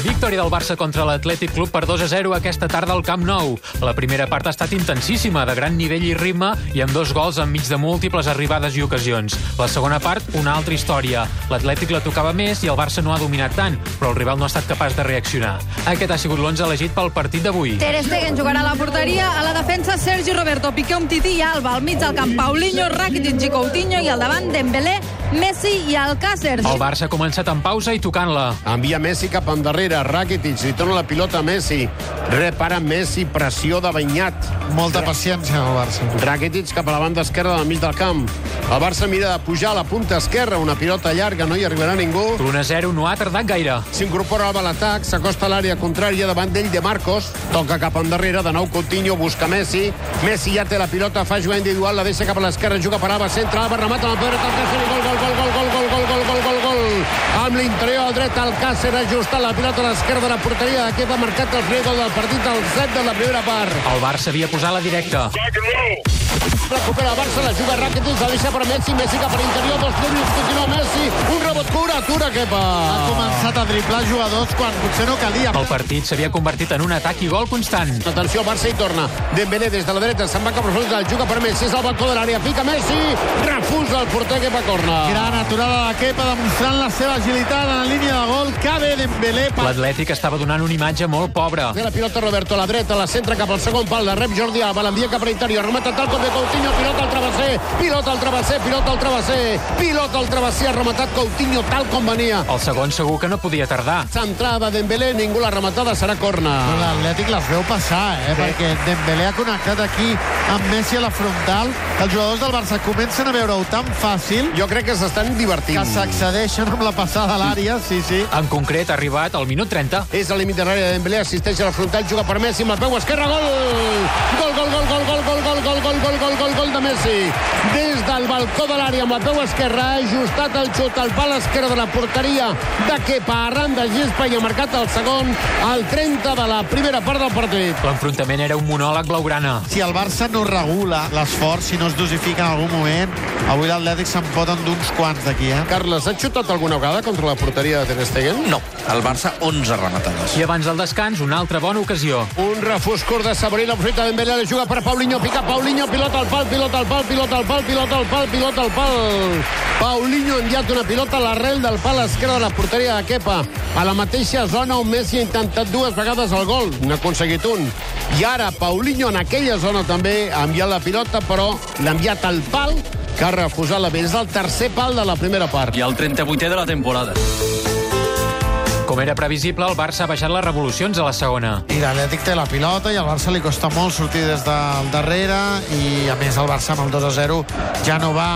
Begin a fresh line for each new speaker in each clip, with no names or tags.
Victòria del Barça contra l'Atlètic Club per 2 a 0 aquesta tarda al Camp Nou. La primera part ha estat intensíssima, de gran nivell i ritme, i amb dos gols enmig de múltiples arribades i ocasions. La segona part, una altra història. L'Atlètic la tocava més i el Barça no ha dominat tant, però el rival no ha estat capaç de reaccionar. Aquest ha sigut l'11 elegit pel partit d'avui.
Ter Stegen jugarà a la porteria, a la defensa Sergi Roberto, Piqué, Umtiti i Alba, al mig del camp Paulinho, Rakitic i Coutinho i al davant Dembélé, Messi i Alcácer.
El Barça ha començat en pausa i tocant-la.
Envia Messi cap endarrere, Rakitic li torna la pilota a Messi, repara Messi, pressió de banyat.
Molta paciència al Barça.
Rakitic cap a la banda esquerra del mig del camp. El Barça mira de pujar a la punta esquerra, una pilota llarga, no hi arribarà ningú.
L'1 a 0 no ha tardat gaire.
S'incorpora Alba a l'atac, s'acosta a l'àrea contrària davant d'ell de Marcos, toca cap endarrere, de nou Coutinho, busca Messi, Messi ja té la pilota, fa jugada individual, la deixa cap a l'esquerra, juga per Alba, centra, Alba remata amb el pedret, Alcácer, gol, gol, gol, gol, gol, gol, gol, gol, gol, gol, amb l'interior al dret, Alcácer ha ajustat la pilota a l'esquerra de la porteria, aquest ha marcat el primer gol del partit, el set de la primera part.
El Barça havia posat la directa.
Recupera el Barça, la juga Rakitic, la deixa per Messi, Messi cap per interior, dos dribles, continua Messi, un rebot cura, cura, que pa...
Ha començat a driblar jugadors quan potser no calia.
El partit s'havia convertit en un atac i gol constant.
Atenció, Barça hi torna. Dembélé des de la dreta, se'n va cap a frontal, juga per Messi, és al balcó de l'àrea, pica Messi, refusa el porter que va corna.
Gran aturada de la Kepa demostrant la seva agilitat en la línia de gol. Cabe Dembélé. Per...
L'Atlètic estava donant una imatge molt pobra.
Té la pilota Roberto a la dreta, la centra cap al segon pal, la rep Jordi Alba, l'envia cap a l'interior, remata tal com de Coutinho, pilota al travesser, pilota al travesser, pilota al travesser, pilota al travesser, ha rematat Coutinho tal com venia.
El segon segur que no podia tardar.
Centrada Dembélé, ningú la rematada, serà
Però
corna.
L'Atlètic les veu passar, eh? perquè Dembélé ha connectat aquí amb Messi a la frontal. Els jugadors del Barça comencen a veure-ho tan fàcil
Jo crec que s'estan
que
divertint.
s'accedeixen amb la passada a l'àrea, sí, sí.
En concret, ha arribat al minut 30.
És al límit de l'àrea de Dembélé, assisteix a la frontal, juga per Messi amb el peu esquerre, gol! Gol, gol, gol, gol, gol, gol, gol, gol, gol, gol, gol, gol, gol de Messi. Des del balcó de l'àrea amb el peu esquerre, ha ajustat el xut al pal esquerre de la porteria de Kepa, arran de gespa i ha marcat el segon al 30 de la primera part del partit.
L'enfrontament era un monòleg blaugrana.
Si el Barça no regula l'esforç, si no es dosifica en algun moment, avui l'Atlètic se'n foten d'uns quants d'aquí, eh?
Carles, has xutat alguna vegada contra la porteria de Ter Stegen?
No, el Barça 11 rematades.
I abans del descans, una altra bona ocasió.
Un refús curt de Saborí, la fruita Dembélé, la juga per Paulinho, pica Paulinho, pilota al pal, pilota al pal, pilota al pal, pilota al pal, pilota al pal. Paulinho ha enviat una pilota a l'arrel del pal esquerre de la porteria de Kepa, a la mateixa zona on Messi ha intentat dues vegades el gol, n'ha aconseguit un. I ara Paulinho en aquella zona també ha enviat la pilota, però l'ha enviat al pal que ha refusat la És el tercer pal de la primera part.
i el 38è de la temporada.
Com era previsible, el Barça ha baixat les revolucions a la segona.
I l'Atlètic té la pilota i al Barça li costa molt sortir des del darrere i a més el Barça amb el 2 a 0 ja no va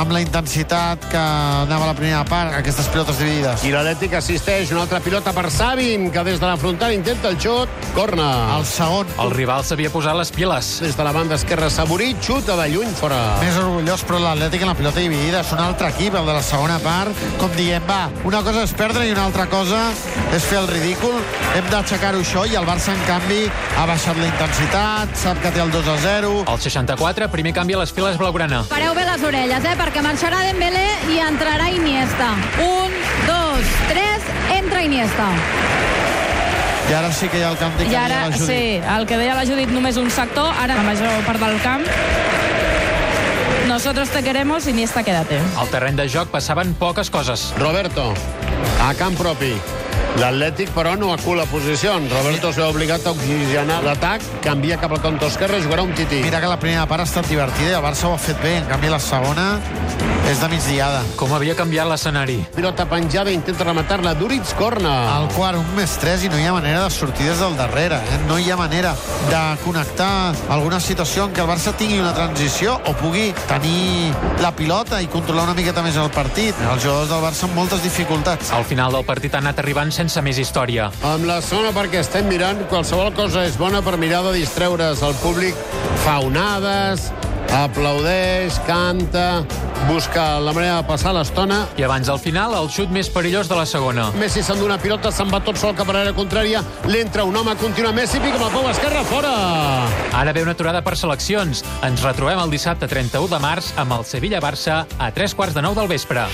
amb la intensitat que anava a la primera part, aquestes pilotes dividides.
I l'Atlètic assisteix, una altra pilota per Sabin, que des de la frontal intenta el xut. Corna.
El segon,
El rival s'havia posat les piles.
Des de la banda esquerra, Saborí, xuta de lluny fora.
més orgullós, però l'Atlètic en la pilota dividida és un altre equip, el de la segona part. Com diem, va, una cosa és perdre i una altra cosa és fer el ridícul. Hem d'aixecar-ho això i el Barça, en canvi, ha baixat la intensitat, sap que té el 2 a 0,
Al 64, primer canvi a les files blaugrana.
Pareu bé les orelles, eh, perquè marxarà Dembélé i entrarà Iniesta. Un, dos, tres, entra Iniesta.
i ara sí que hi ha el càntic
I
que
ara,
deia la Judit.
sí, el que deia la Judit, només un sector, ara la major part del camp. Nosotros te queremos, Iniesta, quédate.
Al terreny de joc passaven poques coses.
Roberto, a camp propi. L'Atlètic, però, no acula posicions. Roberto s'ha obligat a oxigenar l'atac, canvia cap al cantó esquerre, jugarà un tití.
Mira que la primera part ha estat divertida i el Barça ho ha fet bé. En canvi, la segona és de migdiada.
Com havia canviat l'escenari.
Pilota penjada, intenta rematar-la. Duritz, corna.
El quart, un més tres, i no hi ha manera de sortir des del darrere. Eh? No hi ha manera de connectar alguna situació en què el Barça tingui una transició o pugui tenir la pilota i controlar una miqueta més el partit. Els jugadors del Barça amb moltes dificultats.
Al final del partit ha anat arribant sense més història.
Amb la zona perquè estem mirant, qualsevol cosa és bona per mirar de distreure's. El públic fa onades, aplaudeix, canta, busca la manera de passar l'estona.
I abans del final, el xut més perillós de la segona.
Messi s'endú una pilota, se'n va tot sol cap a l'àrea contrària, l'entra un home, continua Messi, pica amb el peu esquerre, fora!
Ara ve una aturada per seleccions. Ens retrobem el dissabte 31 de març amb el Sevilla-Barça a 3 quarts de 9 del vespre.